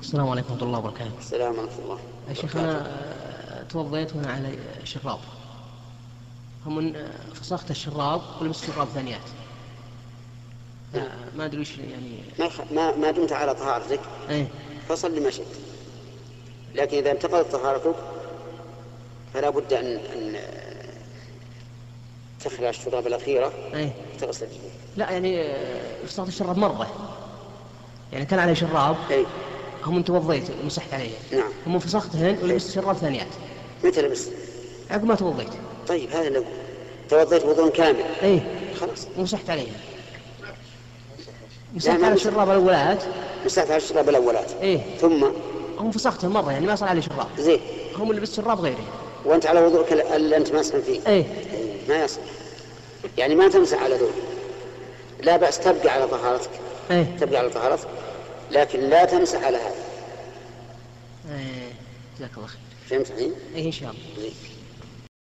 السلام عليكم ورحمة الله وبركاته السلام ورحمة الله يا شيخ أنا آه، توضيت هنا على شراب هم آه، فسخت الشراب ولبست شراب ثانيات آه، ما أدري وش يعني ما يخ- ما ما دمت على طهارتك إيه فصل لما شئت لكن إذا انتقضت طهارتك فلا بد أن أن تخلع الشراب الأخيرة إيه تغسل فيه لا يعني آه، فسخت الشراب مرة يعني كان علي شراب أي هم توضيت ومسحت عليه نعم هم فسختهن ولبست شراب ثانيات متى لبست؟ عقب ما توضيت طيب هذا لو توضيت وضوء كامل إيه خلاص ومسحت عليها لا، مسحت ما على مسح. الشراب الأولات مسحت على الشراب الأولات إيه ثم هم فسختهم مرة يعني ما صار علي شراب زين هم اللي بس شراب غيري وأنت على وضوءك ال- اللي أنت ماسح فيه ايه أي، ما يصح يعني ما تمسح على ذوق لا بأس تبقى على طهارتك ايه تبقى على طهارتك لكن لا تمسح على هذا ايه جزاك الله خير فهمت الحين؟ ايه ان شاء الله زين.